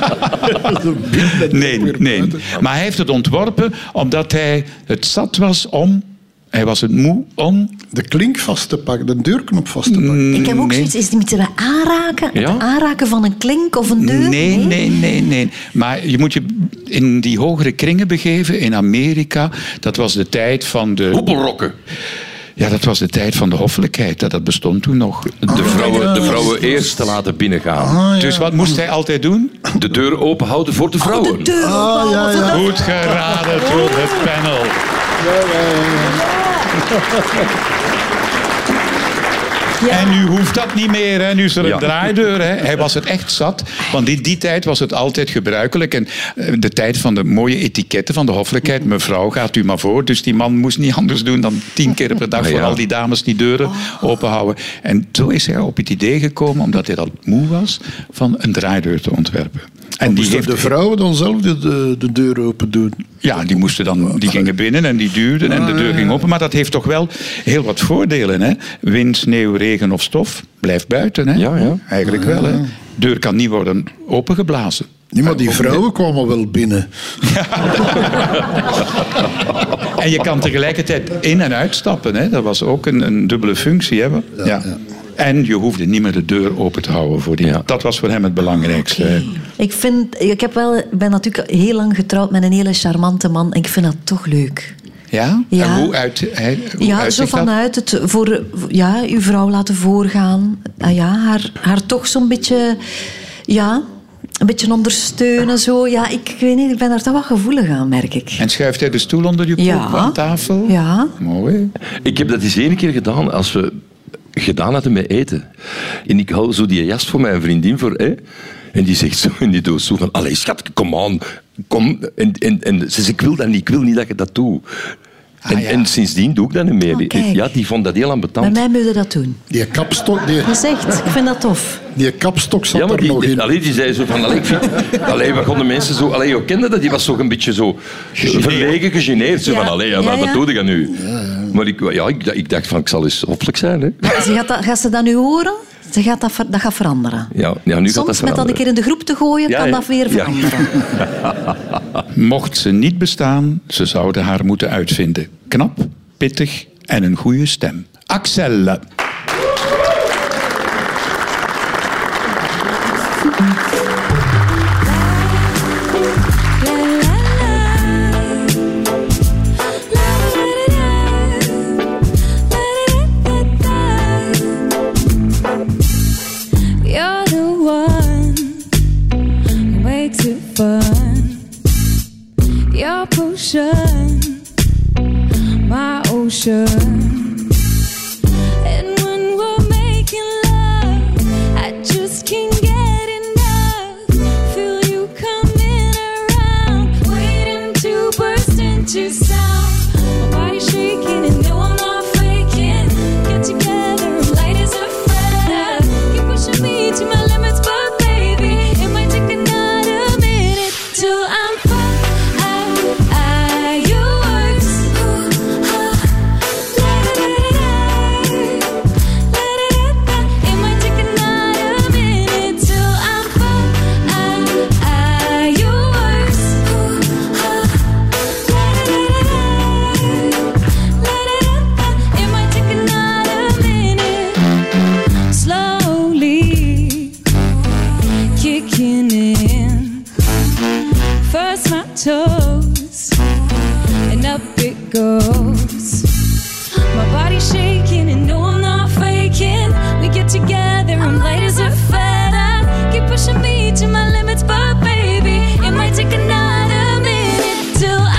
[SPEAKER 5] Zo binnen en
[SPEAKER 2] Nee,
[SPEAKER 5] weer
[SPEAKER 2] nee.
[SPEAKER 5] buiten.
[SPEAKER 2] Maar hij heeft het ontworpen omdat hij het zat was om. Hij was het moe om.
[SPEAKER 5] De klink vast te pakken, de deurknop vast te
[SPEAKER 2] Mm,
[SPEAKER 5] pakken.
[SPEAKER 4] Ik heb ook
[SPEAKER 2] nee.
[SPEAKER 4] zoiets, is het moeten we aanraken? Het
[SPEAKER 3] Ja?
[SPEAKER 4] aanraken van een klink of een deur?
[SPEAKER 2] Nee, nee, nee, nee. Maar je moet je in die hogere kringen begeven in Amerika. Dat was de tijd van de.
[SPEAKER 3] Hoepelrokken.
[SPEAKER 2] Ja, dat was de tijd van de hoffelijkheid. Dat, dat bestond toen nog.
[SPEAKER 3] De vrouwen, de
[SPEAKER 5] ja.
[SPEAKER 3] vrouwen eerst te laten binnengaan.
[SPEAKER 5] Ah,
[SPEAKER 2] Dus wat moest hij altijd doen?
[SPEAKER 3] De deur open houden voor de vrouwen.
[SPEAKER 4] De deur
[SPEAKER 5] Ah,
[SPEAKER 4] openhouden,
[SPEAKER 5] ja,
[SPEAKER 4] voor
[SPEAKER 5] ja.
[SPEAKER 4] de-
[SPEAKER 2] Goed geraden door het panel. En nu hoeft dat niet meer, hè. nu is er een
[SPEAKER 3] Ja.
[SPEAKER 2] draaideur. Hè. Hij was het echt zat, want in die tijd was het altijd gebruikelijk. En eh, de tijd van de mooie etiketten, van de hoffelijkheid. Mevrouw, gaat u maar voor. Dus die man moest niet anders doen dan tien keer per dag
[SPEAKER 3] Ah,
[SPEAKER 2] voor
[SPEAKER 3] ja.
[SPEAKER 2] al die dames die deuren openhouden. En zo is hij op het idee gekomen, omdat hij dat moe was, van een draaideur te ontwerpen. En die
[SPEAKER 5] Moesten
[SPEAKER 2] heeft
[SPEAKER 5] de vrouwen dan zelf de, de, de deur open doen?
[SPEAKER 2] ja, die, moesten dan, die gingen binnen en die duwden en de deur ging open. Maar dat heeft toch wel heel wat voordelen. Hè? Wind, sneeuw, regen of stof, blijf buiten. Hè?
[SPEAKER 3] Ja, ja.
[SPEAKER 2] Eigenlijk wel. Hè? Deur kan niet worden opengeblazen.
[SPEAKER 5] Nee, maar die vrouwen kwamen wel binnen.
[SPEAKER 2] En je kan tegelijkertijd in- en uitstappen. Hè? Dat was ook een, een dubbele functie. Hè? Ja, En je hoefde niet meer de deur open te houden voor die.
[SPEAKER 3] Ja.
[SPEAKER 2] Dat was voor hem het belangrijkste. hè.
[SPEAKER 4] Ik, vind, ik heb wel, ik ben natuurlijk heel lang getrouwd met een hele charmante man. En ik vind dat toch leuk.
[SPEAKER 2] Ja?
[SPEAKER 4] Ja.
[SPEAKER 2] En hoe uit, hij, hoe
[SPEAKER 4] Ja,
[SPEAKER 2] uit
[SPEAKER 4] zo eh, vanuit het voor ja, uw vrouw laten voorgaan. Ah ja, haar, haar toch zo'n beetje, ja, een beetje ondersteunen. Zo. Ja, ik, ik weet niet, ik ben daar toch wel gevoelig aan, merk ik.
[SPEAKER 2] En schuift hij de stoel onder je
[SPEAKER 4] Ja.
[SPEAKER 2] poep aan tafel?
[SPEAKER 4] Ja.
[SPEAKER 2] Mooi.
[SPEAKER 3] Ik heb dat eens één keer gedaan als we gedaan hadden met eten. En ik hou zo die jas voor mijn vriendin voor. Hè? En die zegt zo en die doet zo van, allee schat, kom aan. Kom. En, en, en ze zegt, ik wil dat niet, ik wil niet dat je dat doet. En,
[SPEAKER 2] ja.
[SPEAKER 3] en sindsdien doe ik dat niet meer.
[SPEAKER 4] Ah, Oh, kijk.
[SPEAKER 3] ja, die vond dat heel
[SPEAKER 4] Bij
[SPEAKER 3] ambetant.
[SPEAKER 4] mij moet je dat doen.
[SPEAKER 5] Die kapstok, die,
[SPEAKER 4] Dat is echt, ik vind dat tof.
[SPEAKER 5] die kapstok zat
[SPEAKER 3] Ja, maar
[SPEAKER 5] er nog
[SPEAKER 3] die,
[SPEAKER 5] in.
[SPEAKER 3] allee, die zei zo van, allee, ik vind, allee, wat konden mensen zo... Allee, je kende dat, die was toch een beetje zo verlegen, gegeneerd. Zo
[SPEAKER 4] Ja.
[SPEAKER 3] van, allee, ja,
[SPEAKER 4] Ja,
[SPEAKER 3] wat,
[SPEAKER 4] ja.
[SPEAKER 3] wat doe je dat nu? Maar ik, ja, ik, ik dacht van, ik zal eens hoffelijk zijn, hè.
[SPEAKER 4] Maar ze gaat, dat, gaat ze dat nu horen? Ze gaat dat, ver- dat gaat veranderen.
[SPEAKER 3] Ja, ja, nu gaat
[SPEAKER 4] Soms met
[SPEAKER 3] dat
[SPEAKER 4] dat een
[SPEAKER 3] veranderen.
[SPEAKER 4] keer in de groep te gooien,
[SPEAKER 3] Ja,
[SPEAKER 4] kan
[SPEAKER 3] ja.
[SPEAKER 4] dat weer
[SPEAKER 3] Ja.
[SPEAKER 4] veranderen.
[SPEAKER 2] Mocht ze niet bestaan, ze zouden haar moeten uitvinden. Knap, pittig en een goede stem. eh, Axelle.
[SPEAKER 7] You're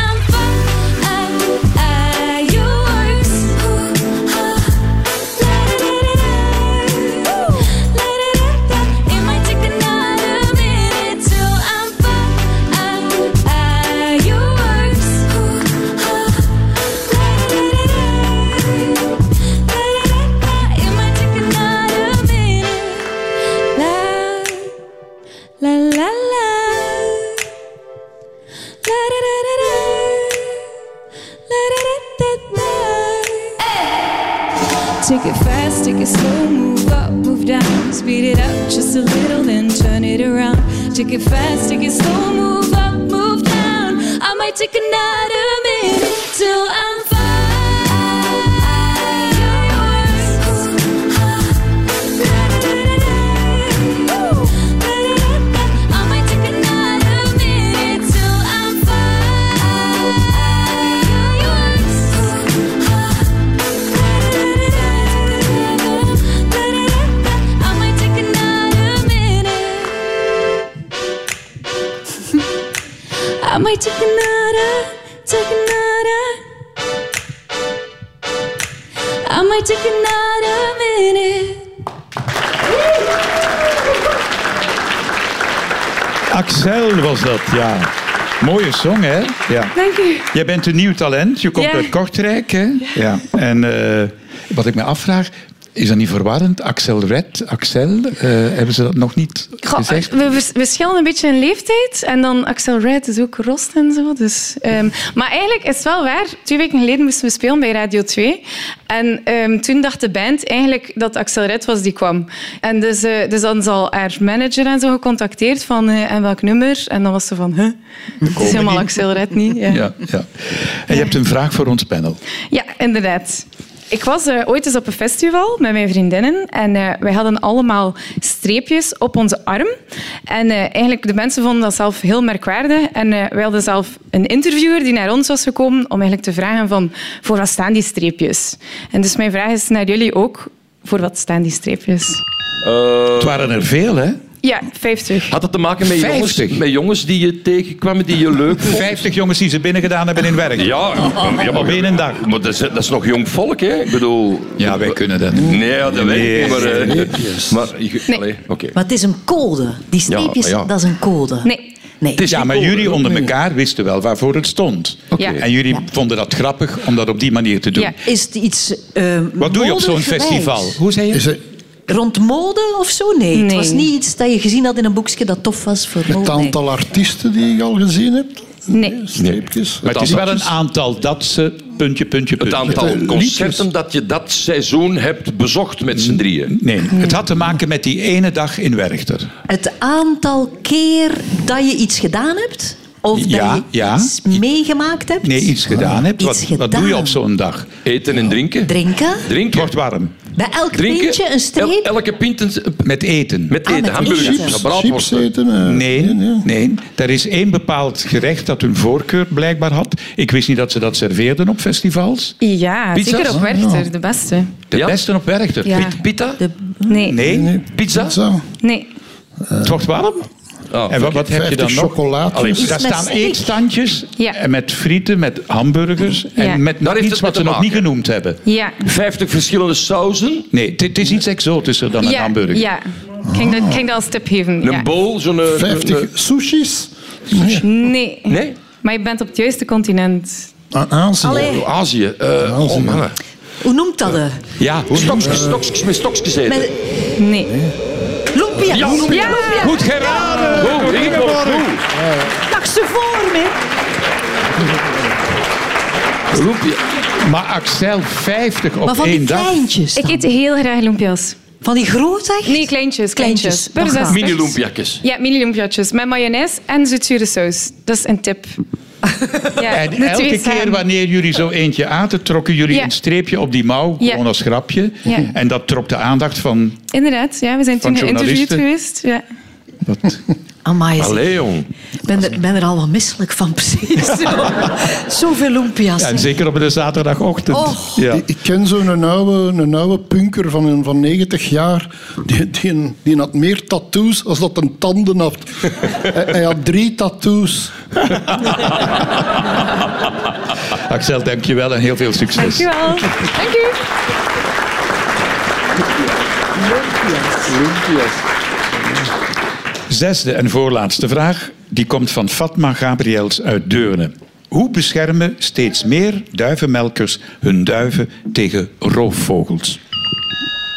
[SPEAKER 7] ah, Take it fast, take it slow, move up, move down. Speed it up just a little, then turn it around. Take it fast, take it slow, move up, move down. I might take another minute till I'm fine. I might take another minute till I'm fine. I might take another minute. I might take another, take another. I might take another minute.
[SPEAKER 2] Axel was dat, ja. Mooie song, hè? Ja.
[SPEAKER 7] Dank u.
[SPEAKER 2] Jij bent een nieuw talent. Je komt
[SPEAKER 7] Ja.
[SPEAKER 2] uit Kortrijk, hè? Ja. En eh, wat ik me afvraag, is dat niet verwarrend? Axel Red, Axel, eh, hebben ze dat nog niet
[SPEAKER 8] Goh,
[SPEAKER 2] gezegd?
[SPEAKER 7] eh,
[SPEAKER 8] we, we, we schillen een beetje in leeftijd. En dan Axel Wright is ook rost en zo. Dus, ehm, maar eigenlijk is het wel waar. Twee weken geleden moesten we spelen bij Radio 2. En ehm, toen dacht de band eigenlijk dat Axel Wright was die kwam. En dus, eh, dus dan zal haar manager en zo gecontacteerd van eh, en welk nummer. En dan was ze van, huh, het is helemaal
[SPEAKER 2] niet.
[SPEAKER 8] Axel Red niet. Ja.
[SPEAKER 2] Ja, ja. En je hebt een vraag voor ons panel.
[SPEAKER 8] Ja, inderdaad. Ik was eh, ooit eens op een festival met mijn vriendinnen en eh, wij hadden allemaal streepjes op onze arm. En eh, eigenlijk, de mensen vonden dat zelf heel merkwaardig. En eh, wij hadden zelf een interviewer die naar ons was gekomen om eigenlijk te vragen van, voor wat staan die streepjes? En dus mijn vraag is naar jullie ook, voor wat staan die streepjes?
[SPEAKER 2] Het waren er veel, hè?
[SPEAKER 8] Ja, 50.
[SPEAKER 3] Had dat te maken met jongens,
[SPEAKER 2] 50?
[SPEAKER 3] met jongens die je tegenkwamen, die je leuk vond?
[SPEAKER 2] 50 jongens die ze binnen gedaan hebben in werk.
[SPEAKER 3] Ja, ja,
[SPEAKER 2] Op
[SPEAKER 3] maar,
[SPEAKER 2] één dag.
[SPEAKER 3] maar dat, is, dat is nog jong volk, hè? Ik bedoel...
[SPEAKER 2] Ja, wij kunnen dat.
[SPEAKER 3] Nee, ja, dat weet ik niet, maar... eh, maar ik-
[SPEAKER 8] Nee.
[SPEAKER 3] allee, oké.
[SPEAKER 4] Maar het is een code. Die streepjes,
[SPEAKER 3] Ja, ja.
[SPEAKER 4] dat is een code.
[SPEAKER 8] Nee.
[SPEAKER 4] Nee.
[SPEAKER 2] Ja, maar jullie onder elkaar wisten wel waarvoor het stond.
[SPEAKER 8] Ja.
[SPEAKER 2] En jullie vonden dat grappig om dat op die manier te doen.
[SPEAKER 8] Ja.
[SPEAKER 4] Is het iets... eh,
[SPEAKER 2] Wat doe je op zo'n
[SPEAKER 4] modegewijs?
[SPEAKER 2] festival? Hoe zei je?
[SPEAKER 5] Is het
[SPEAKER 3] Oh,
[SPEAKER 4] Rond mode of zo? Nee. Het
[SPEAKER 8] Nee.
[SPEAKER 4] was niet iets dat je gezien had in een boekje dat tof was voor mode.
[SPEAKER 5] het
[SPEAKER 4] nee.
[SPEAKER 5] aantal artiesten die je al gezien hebt?
[SPEAKER 8] Nee.
[SPEAKER 5] Streepjes.
[SPEAKER 2] Maar het is wel een aantal dat ze puntje, puntje,
[SPEAKER 3] Het
[SPEAKER 2] puntje.
[SPEAKER 3] aantal concerten dat je dat seizoen hebt bezocht met z'n drieën.
[SPEAKER 2] Nee, het had te maken met die ene dag in Werchter.
[SPEAKER 4] Het aantal keer dat je iets gedaan hebt? Of
[SPEAKER 2] Ja,
[SPEAKER 4] dat je
[SPEAKER 2] ja.
[SPEAKER 4] iets meegemaakt hebt?
[SPEAKER 2] Nee, iets gedaan hebt.
[SPEAKER 4] Iets
[SPEAKER 2] Wat, wat doe je
[SPEAKER 4] gedaan.
[SPEAKER 2] op zo'n dag?
[SPEAKER 3] Eten en drinken.
[SPEAKER 4] Drinken?
[SPEAKER 2] Het
[SPEAKER 3] Drinken.
[SPEAKER 2] wordt warm.
[SPEAKER 4] Bij elk
[SPEAKER 3] Drinken.
[SPEAKER 4] pintje een
[SPEAKER 3] El-
[SPEAKER 4] streep?
[SPEAKER 3] elke pint een-
[SPEAKER 2] Met eten.
[SPEAKER 3] met
[SPEAKER 4] Ah,
[SPEAKER 3] eten.
[SPEAKER 4] met eten.
[SPEAKER 3] hamburgers,
[SPEAKER 5] Chips, chips
[SPEAKER 3] braadworsten.
[SPEAKER 5] eten. eh,
[SPEAKER 2] Nee, nee. Er is één bepaald gerecht dat hun voorkeur blijkbaar had. Ik wist niet dat ze dat serveerden op festivals.
[SPEAKER 8] Ja,
[SPEAKER 3] Pizza's?
[SPEAKER 8] zeker op Werchter, de beste.
[SPEAKER 2] De
[SPEAKER 3] Ja?
[SPEAKER 2] beste op Werchter.
[SPEAKER 8] Ja.
[SPEAKER 2] Piet-
[SPEAKER 3] Pita?
[SPEAKER 4] De-
[SPEAKER 8] Nee.
[SPEAKER 2] Nee,
[SPEAKER 3] Pizza?
[SPEAKER 5] Zo,
[SPEAKER 8] Nee.
[SPEAKER 2] het wordt warm.
[SPEAKER 3] Oh,
[SPEAKER 2] En wat, wat heb je
[SPEAKER 5] 50
[SPEAKER 2] dan nog?
[SPEAKER 5] chocolaatjes.
[SPEAKER 4] Iets
[SPEAKER 2] Daar
[SPEAKER 4] met
[SPEAKER 2] staan
[SPEAKER 4] steak.
[SPEAKER 2] eetstandjes
[SPEAKER 8] Ja.
[SPEAKER 2] en met frieten, met hamburgers en
[SPEAKER 8] Ja.
[SPEAKER 2] met
[SPEAKER 3] Daar
[SPEAKER 2] nog
[SPEAKER 3] heeft
[SPEAKER 2] iets
[SPEAKER 3] het
[SPEAKER 2] wat
[SPEAKER 3] mee
[SPEAKER 2] ze
[SPEAKER 3] te
[SPEAKER 2] nog niet
[SPEAKER 3] maken.
[SPEAKER 2] genoemd hebben.
[SPEAKER 8] Ja.
[SPEAKER 3] 50 verschillende sauzen.
[SPEAKER 2] Nee, het- het is iets exotischer dan een
[SPEAKER 8] ja,
[SPEAKER 2] hamburger.
[SPEAKER 8] Ja. Ik ging dat, ik ging dat als tip geven.
[SPEAKER 3] Een
[SPEAKER 8] ja.
[SPEAKER 3] bol, zo'n... eh, een-
[SPEAKER 5] 50 sushis.
[SPEAKER 8] Nee.
[SPEAKER 3] Nee?
[SPEAKER 8] Maar je bent op het juiste continent.
[SPEAKER 5] Aan Azië.
[SPEAKER 4] Allee,
[SPEAKER 3] Oh, Azië. eh,
[SPEAKER 5] Azië.
[SPEAKER 3] oh, mannen.
[SPEAKER 4] hoe noemt dat? eh?
[SPEAKER 2] Ja, hoe
[SPEAKER 3] Stokjes, stokjes, met stokjes eten.
[SPEAKER 4] Met
[SPEAKER 8] Nee.
[SPEAKER 4] lumpia.
[SPEAKER 3] Ja,
[SPEAKER 4] lumpia.
[SPEAKER 3] ja.
[SPEAKER 4] lumpia.
[SPEAKER 2] Goed geraden!
[SPEAKER 3] Oh, Ingeborg, goed.
[SPEAKER 4] Dag ze voor me.
[SPEAKER 3] Loempje.
[SPEAKER 2] Maar Axel, 50 op
[SPEAKER 4] Maar van die
[SPEAKER 2] één dag.
[SPEAKER 4] kleintjes
[SPEAKER 8] Ik
[SPEAKER 4] dan?
[SPEAKER 8] eet heel graag lumpia's.
[SPEAKER 4] Van die groot echt?
[SPEAKER 8] Nee, kleintjes.
[SPEAKER 4] Kleintjes,
[SPEAKER 8] Kleintjes.
[SPEAKER 4] dat gaat.
[SPEAKER 8] zes.
[SPEAKER 3] Mini loempiakjes.
[SPEAKER 8] Ja, mini lumpia's. Met mayonaise en zoetzure saus. Dat is een tip. Ja,
[SPEAKER 2] En
[SPEAKER 8] de twee
[SPEAKER 2] elke keer
[SPEAKER 8] samen.
[SPEAKER 2] wanneer jullie zo eentje aten, trokken jullie
[SPEAKER 8] Ja.
[SPEAKER 2] een streepje op die mouw,
[SPEAKER 8] Ja.
[SPEAKER 2] gewoon als grapje.
[SPEAKER 8] Ja.
[SPEAKER 2] En dat trok de aandacht van...
[SPEAKER 8] Inderdaad, ja, we zijn
[SPEAKER 2] Van
[SPEAKER 8] toen geïnterviewd
[SPEAKER 2] journalisten.
[SPEAKER 8] geweest. Ja.
[SPEAKER 4] Amai, zeg.
[SPEAKER 3] Allee, jong.
[SPEAKER 4] Ik ben er, ben er al wat misselijk van, precies. Zo- Zoveel lumpia's.
[SPEAKER 2] En zeker op de zaterdagochtend.
[SPEAKER 4] Och.
[SPEAKER 2] Ja.
[SPEAKER 5] Ik ken zo'n oude, een oude punker van, een- van 90 jaar. Die, die, die had meer tattoos als dat een tanden had. hij, hij had drie tattoos.
[SPEAKER 2] Axel, dankjewel en heel veel succes.
[SPEAKER 8] Dankjewel. Dank u.
[SPEAKER 2] Zesde en voorlaatste vraag. Die komt van Fatma Gabriels uit Deurne. Hoe beschermen steeds meer duivenmelkers hun duiven tegen roofvogels?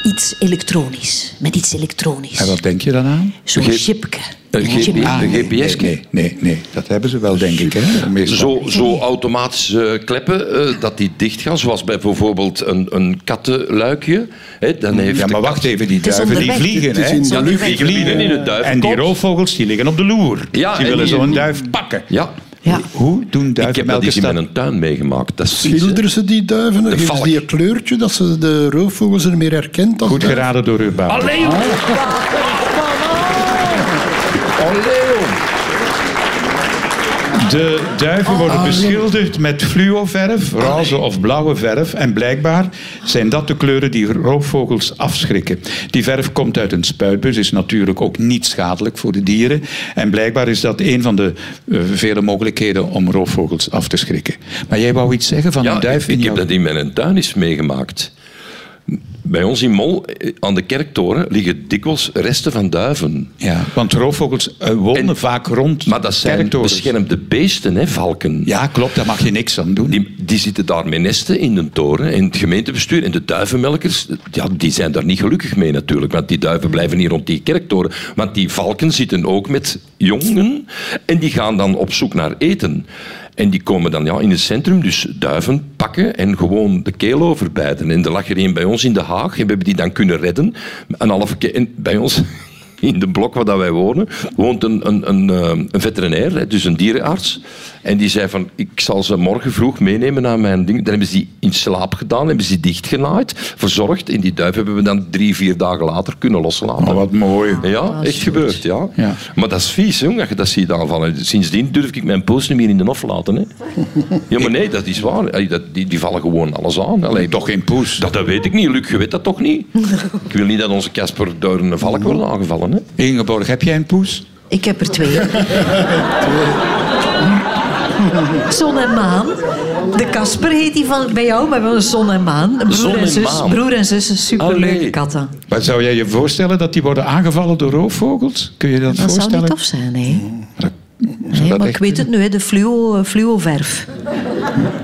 [SPEAKER 4] iets elektronisch. Met iets elektronisch.
[SPEAKER 2] En wat denk je dan aan?
[SPEAKER 4] Zo'n
[SPEAKER 3] Ge-
[SPEAKER 4] chipke.
[SPEAKER 3] Een
[SPEAKER 4] Een chipke.
[SPEAKER 3] GPS. Ah,
[SPEAKER 2] nee,
[SPEAKER 3] de GPS
[SPEAKER 2] Nee, nee, nee, dat hebben ze wel, denk ik. Hè? meestal.
[SPEAKER 3] Zo, zo automatische kleppen eh, dat die dicht gaan, zoals bij bijvoorbeeld een, een kattenluikje. Hè, dan heeft
[SPEAKER 2] Ja,
[SPEAKER 3] de
[SPEAKER 2] maar
[SPEAKER 3] kat-
[SPEAKER 2] wacht even, die
[SPEAKER 4] is
[SPEAKER 2] duiven die
[SPEAKER 4] onderweg.
[SPEAKER 2] vliegen.
[SPEAKER 4] Het is
[SPEAKER 2] Hè?
[SPEAKER 5] in de
[SPEAKER 2] Ja, die
[SPEAKER 3] lucht. Vliegen in het duivenkot.
[SPEAKER 2] En die roofvogels die liggen op de loer.
[SPEAKER 3] Ja,
[SPEAKER 2] die
[SPEAKER 3] en
[SPEAKER 2] willen
[SPEAKER 3] die-
[SPEAKER 2] zo'n duif pakken.
[SPEAKER 3] Ja,
[SPEAKER 4] Ja.
[SPEAKER 2] Hoe doen
[SPEAKER 3] ik heb dat eens
[SPEAKER 2] duivenmelkers
[SPEAKER 3] in
[SPEAKER 2] dat?
[SPEAKER 3] mijn tuin meegemaakt. Dat is zoiets, hè.
[SPEAKER 5] Schilderen ze die duiven? Geven ze
[SPEAKER 3] valk.
[SPEAKER 5] die een kleurtje dat ze de roofvogels er meer herkent? als
[SPEAKER 2] Goed
[SPEAKER 5] duiven?
[SPEAKER 2] geraden door Urban.
[SPEAKER 3] Allee! hoor. Allee, hoor.
[SPEAKER 2] De duiven worden beschilderd met fluoverf, roze of blauwe verf. En blijkbaar zijn dat de kleuren die roofvogels afschrikken. Die verf komt uit een spuitbus, is natuurlijk ook niet schadelijk voor de dieren. En blijkbaar is dat een van de eh, vele mogelijkheden om roofvogels af te schrikken. Maar jij wou iets zeggen van
[SPEAKER 3] Ja,
[SPEAKER 2] een duif
[SPEAKER 3] ik,
[SPEAKER 2] in
[SPEAKER 3] ik heb
[SPEAKER 2] jouw-
[SPEAKER 3] dat in mijn tuin eens meegemaakt. Bij ons in Mol, eh, aan de kerktoren, liggen dikwijls resten van duiven.
[SPEAKER 2] Ja, want roofvogels eh, wonen
[SPEAKER 3] En-
[SPEAKER 2] vaak rond
[SPEAKER 3] Maar dat zijn
[SPEAKER 2] kerktorens.
[SPEAKER 3] beschermde beesten, hè, valken.
[SPEAKER 2] Ja, klopt, daar mag je niks aan doen.
[SPEAKER 3] Die, die zitten daar met nesten in de toren. En het gemeentebestuur en de duivenmelkers, ja, die zijn daar niet gelukkig mee natuurlijk. Want die duiven blijven hier rond die kerktoren. Want die valken zitten ook met jongen. En die gaan dan op zoek naar eten. En die komen dan ja, in het centrum, dus duiven pakken en gewoon de keel overbijten. En er lag er een bij ons in De Haag. En we hebben die dan kunnen redden. Een halve keer. En bij ons in de blok waar dat wij wonen, woont een, een, een, eh, een veterinair, hè, dus een dierenarts. En die zei van, ik zal ze morgen vroeg meenemen naar mijn ding. Dan hebben ze die in slaap gedaan, hebben ze die dichtgenaaid, verzorgd. En die duif hebben we dan drie, vier dagen later kunnen loslaten.
[SPEAKER 2] Oh, wat mooi.
[SPEAKER 3] Ja, echt gebeurd, ja.
[SPEAKER 2] Ja.
[SPEAKER 3] Maar dat is vies, jong, dat je dat ziet aanvallen. Sindsdien durf ik mijn post niet meer in de hof laten. Hè. Ja, maar nee, dat is waar. Allee, dat- Die, die vallen gewoon alles aan. Allee,
[SPEAKER 2] Toch geen poes.
[SPEAKER 3] dat, dat weet ik niet, Luc, je weet dat toch niet? ik wil niet dat onze Casper door een valk wordt aangevallen. Hè.
[SPEAKER 2] Ingeborg, heb jij een poes?
[SPEAKER 4] Ik heb er twee. Zon en maan. De Kasper heet die van bij jou, maar wel zon en maan. Broer
[SPEAKER 3] Zon
[SPEAKER 4] en
[SPEAKER 3] en
[SPEAKER 4] zus,
[SPEAKER 3] Maan.
[SPEAKER 4] broer en zus, een superleuke
[SPEAKER 3] Allee.
[SPEAKER 4] katten.
[SPEAKER 2] Maar zou jij je voorstellen dat die worden aangevallen door roofvogels? Kun je dat,
[SPEAKER 4] Dat zou
[SPEAKER 2] voorstellen?
[SPEAKER 4] niet tof zijn, nee.
[SPEAKER 2] Zou
[SPEAKER 4] Nee,
[SPEAKER 2] dat
[SPEAKER 4] maar
[SPEAKER 2] echt
[SPEAKER 4] ik weet het nu, hè, de fluo, eh, fluoverf.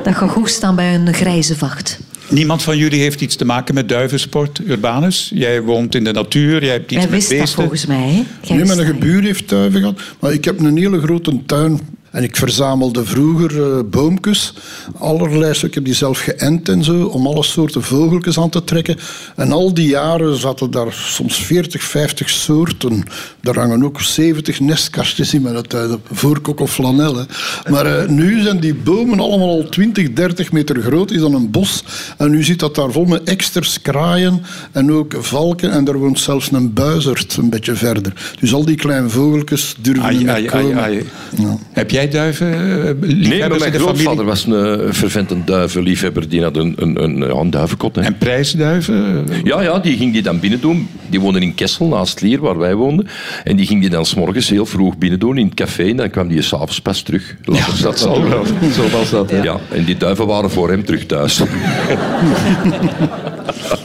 [SPEAKER 4] Dat gaat goed staan bij een grijze vacht.
[SPEAKER 2] Niemand van jullie heeft iets te maken met duivensport, Urbanus. Jij woont in de natuur, jij hebt iets
[SPEAKER 4] Jij
[SPEAKER 2] met
[SPEAKER 4] wist dat
[SPEAKER 2] beesten.
[SPEAKER 4] volgens mij. hè? Jij
[SPEAKER 5] Nee,
[SPEAKER 4] wist
[SPEAKER 5] mijn
[SPEAKER 4] dat.
[SPEAKER 5] gebuur heeft duiven gehad. Maar ik heb een hele grote tuin. En ik verzamelde vroeger eh, boomkes. Allerlei, ik heb die zelf geënt en zo, om alle soorten vogeltjes aan te trekken. En al die jaren zaten daar soms 40, 50 soorten. Er hangen ook 70 nestkastjes in mijn tuin, voorkok of flanel. hè. Maar eh, nu zijn die bomen allemaal al 20, 30 meter groot, is dan een bos. En nu zit dat daar vol met eksters, kraaien en ook valken. En daar woont zelfs een buizerd een beetje verder. Dus al die kleine vogeltjes durven
[SPEAKER 2] Ai,
[SPEAKER 5] niet
[SPEAKER 2] ai,
[SPEAKER 5] meer
[SPEAKER 2] ai,
[SPEAKER 5] komen.
[SPEAKER 2] ai.
[SPEAKER 5] Ja.
[SPEAKER 2] Heb jij duiven? eh,
[SPEAKER 3] Nee, maar
[SPEAKER 2] liefhebbers in
[SPEAKER 3] mijn
[SPEAKER 2] de
[SPEAKER 3] grootvader
[SPEAKER 2] familie?
[SPEAKER 3] was een eh, vervent een duivenliefhebber. Die had een, een, een, ja, een duivenkot. Hè.
[SPEAKER 2] En prijsduiven?
[SPEAKER 3] Ja, ja, die ging die dan binnen doen. Die woonde in Kessel, naast Lier, waar wij woonden. En die ging die dan s'morgens heel vroeg binnen doen in het café. En dan kwam die s'avonds pas terug. Later zat dat
[SPEAKER 2] zal wel.
[SPEAKER 3] Zo was dat, ja. En die duiven waren voor hem terug thuis.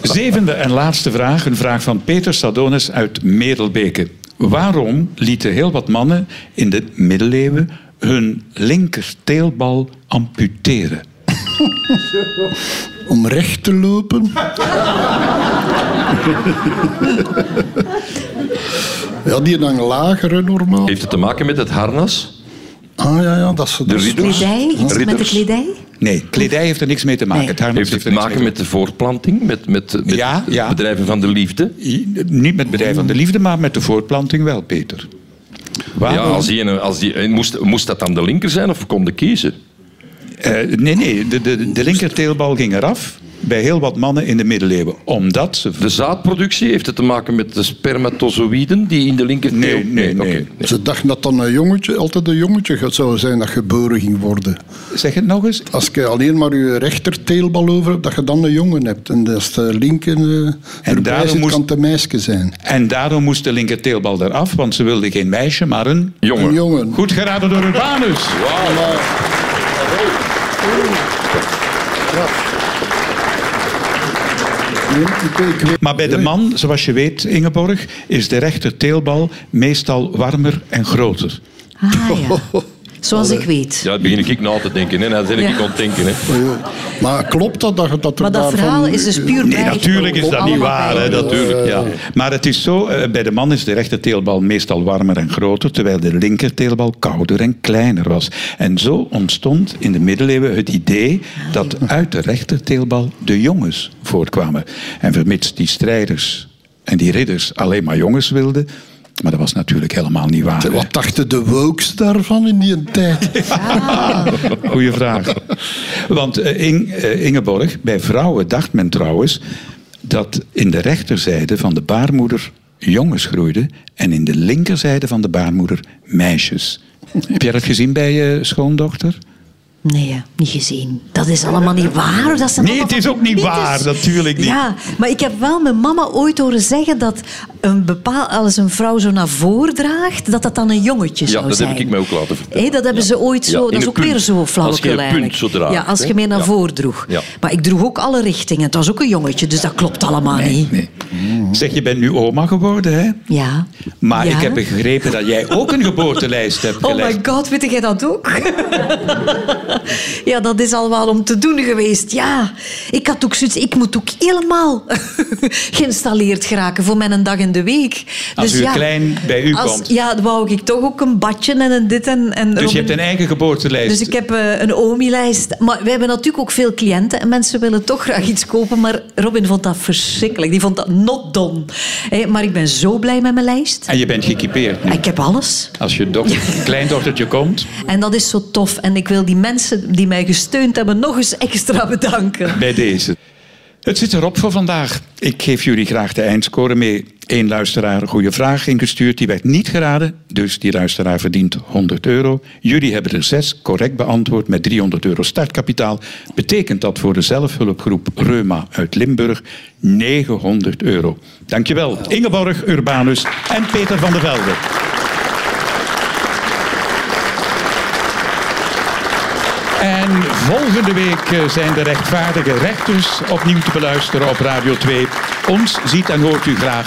[SPEAKER 2] Zevende en laatste vraag, een vraag van Peter Sadonis uit Merelbeke. Waarom lieten heel wat mannen in de middeleeuwen hun linkerteelbal amputeren?
[SPEAKER 5] Om recht te lopen. ja, die hangen lager hè, normaal.
[SPEAKER 3] Heeft het te maken met het harnas?
[SPEAKER 5] Ah ja, ja, dat is
[SPEAKER 3] De
[SPEAKER 5] dat is-
[SPEAKER 3] ridders?
[SPEAKER 4] Kledij? Iets met de
[SPEAKER 3] Ridders.
[SPEAKER 4] kledij?
[SPEAKER 2] Nee, kledij heeft er niks mee te maken.
[SPEAKER 4] Nee.
[SPEAKER 2] Het harnas
[SPEAKER 3] Heeft het te
[SPEAKER 2] er niks
[SPEAKER 3] maken
[SPEAKER 2] mee
[SPEAKER 3] met de voortplanting? Met, met, met
[SPEAKER 2] Ja,
[SPEAKER 3] het
[SPEAKER 2] ja.
[SPEAKER 3] bedrijven van de liefde?
[SPEAKER 2] eh, Niet met bedrijf van de liefde, maar met de voortplanting wel, Peter.
[SPEAKER 3] Ja,
[SPEAKER 2] Waarom?
[SPEAKER 3] als die, ene- als die, en moest, moest dat aan de linker zijn of konden kiezen?
[SPEAKER 2] Eh, nee, nee, de, de, de linkerteelbal ging eraf bij heel wat mannen in de middeleeuwen. Omdat ze...
[SPEAKER 3] De zaadproductie heeft het te maken met de spermatozoïden die in de linker
[SPEAKER 2] Nee, nee, nee.
[SPEAKER 5] Ze dachten dat dan een jongetje, altijd een jongetje ge- zou zijn dat geboren ging worden.
[SPEAKER 2] Zeg het nog eens.
[SPEAKER 5] Als je alleen maar je rechterteelbal over hebt, dat je dan een jongen hebt. En als de linker eh, erbij
[SPEAKER 2] daarom
[SPEAKER 5] zit,
[SPEAKER 2] moest-
[SPEAKER 5] kan het een meisje zijn.
[SPEAKER 2] En daarom moest de linkerteelbal eraf, want ze wilden geen meisje, maar een...
[SPEAKER 5] Een
[SPEAKER 3] Jongen.
[SPEAKER 5] jongen.
[SPEAKER 2] Goed geraden door Urbanus.
[SPEAKER 5] Nee, ik weet- ik weet-
[SPEAKER 2] Maar bij de man, zoals je weet, Ingeborg, is de rechterteelbal meestal warmer en groter.
[SPEAKER 4] Ah ja. Zoals ik weet.
[SPEAKER 3] Ja, dat begin ik na te denken. Hè. Dan zit ik
[SPEAKER 4] Ja.
[SPEAKER 3] aan het denken. Hè.
[SPEAKER 5] Maar, Oh, ja, maar klopt dat? dat, dat er
[SPEAKER 4] Maar dat
[SPEAKER 5] daarvan-
[SPEAKER 4] verhaal is dus puur
[SPEAKER 2] eh, Nee,
[SPEAKER 4] bij-
[SPEAKER 2] natuurlijk is dat niet
[SPEAKER 4] allemaal
[SPEAKER 2] waar.
[SPEAKER 4] bij.
[SPEAKER 2] Hè, natuurlijk, ja. Maar het is zo, eh, bij de man is de rechter teelbal meestal warmer en groter, terwijl de linker teelbal kouder en kleiner was. En zo ontstond in de middeleeuwen het idee dat uit de rechter teelbal de jongens voortkwamen. En vermits die strijders en die ridders alleen maar jongens wilden, maar dat was natuurlijk helemaal niet waar.
[SPEAKER 5] Wat dachten de wokes daarvan in die tijd?
[SPEAKER 2] Goeie vraag. Want eh, Ing- eh, Ingeborg, bij vrouwen dacht men trouwens dat in de rechterzijde van de baarmoeder jongens groeiden en in de linkerzijde van de baarmoeder meisjes. Heb jij dat gezien bij je schoondochter?
[SPEAKER 4] Nee, hè, niet gezien. Dat is allemaal niet waar. Dat zijn
[SPEAKER 2] Nee,
[SPEAKER 4] allemaal
[SPEAKER 2] het is
[SPEAKER 4] van
[SPEAKER 2] ook niet
[SPEAKER 4] mythes.
[SPEAKER 2] waar, natuurlijk niet.
[SPEAKER 4] Ja, maar ik heb wel mijn mama ooit horen zeggen dat een bepaal, als een vrouw zo naar voren draagt, dat dat dan een jongetje
[SPEAKER 3] Ja,
[SPEAKER 4] zou
[SPEAKER 3] dat
[SPEAKER 4] zijn.
[SPEAKER 3] heb ik mij ook laten vertellen.
[SPEAKER 4] Hé, dat hebben
[SPEAKER 3] Ja.
[SPEAKER 4] ze ooit
[SPEAKER 3] Ja,
[SPEAKER 4] zo...
[SPEAKER 3] in
[SPEAKER 4] dat is
[SPEAKER 3] een
[SPEAKER 4] ook
[SPEAKER 3] punt.
[SPEAKER 4] weer zo
[SPEAKER 3] Als je
[SPEAKER 4] flauwekul
[SPEAKER 3] een punt
[SPEAKER 4] eigenlijk.
[SPEAKER 3] zo draagt,
[SPEAKER 4] ja, als
[SPEAKER 3] hè?
[SPEAKER 4] je mee naar
[SPEAKER 3] Ja.
[SPEAKER 4] voren droeg.
[SPEAKER 3] Ja.
[SPEAKER 4] Maar ik droeg ook alle richtingen. Het was ook een jongetje, dus dat klopt allemaal niet.
[SPEAKER 2] Nee. Zeg, je bent nu oma geworden, hè?
[SPEAKER 4] Ja.
[SPEAKER 2] Maar
[SPEAKER 4] Mhm. Ja.
[SPEAKER 2] ik heb begrepen dat jij ook een geboortelijst hebt
[SPEAKER 4] Oh my
[SPEAKER 2] gelegd.
[SPEAKER 4] god, weet jij dat ook? ja, dat is al wel om te doen geweest. Ja, ik had ook zoiets, ik moet ook helemaal geïnstalleerd geraken voor mijn dag in de week. Dus
[SPEAKER 2] Als uw klein bij u
[SPEAKER 4] als-
[SPEAKER 2] komt.
[SPEAKER 4] Ja, dan wou ik toch ook een badje en een dit en... en
[SPEAKER 2] dus
[SPEAKER 4] Robin-
[SPEAKER 2] je hebt een eigen geboortelijst.
[SPEAKER 4] dus ik heb eh, een OMI-lijst. Maar we hebben natuurlijk ook veel cliënten en mensen willen toch graag iets kopen. Maar Robin vond dat verschrikkelijk. Die vond dat not done. Hé, maar ik ben zo blij met mijn lijst.
[SPEAKER 2] En je bent gekipeerd nu.
[SPEAKER 4] Ik heb alles.
[SPEAKER 2] Als je dochter, kleindochtertje komt,
[SPEAKER 4] En dat is zo tof. En ik wil die mensen die mij gesteund hebben nog eens extra bedanken.
[SPEAKER 2] bij deze. Het zit erop voor vandaag. Ik geef jullie graag de eindscore mee. Eén luisteraar een goede vraag ingestuurd. Die werd niet geraden, dus die luisteraar verdient 100 euro. Jullie hebben er zes correct beantwoord met 300 euro startkapitaal. Betekent dat voor de zelfhulpgroep Reuma uit Limburg 900 euro. Dankjewel, Ingeborg Urbanus en Peter van der Velde. En volgende week eh, zijn de rechtvaardige rechters opnieuw te beluisteren op Radio 2. Ons ziet en hoort u graag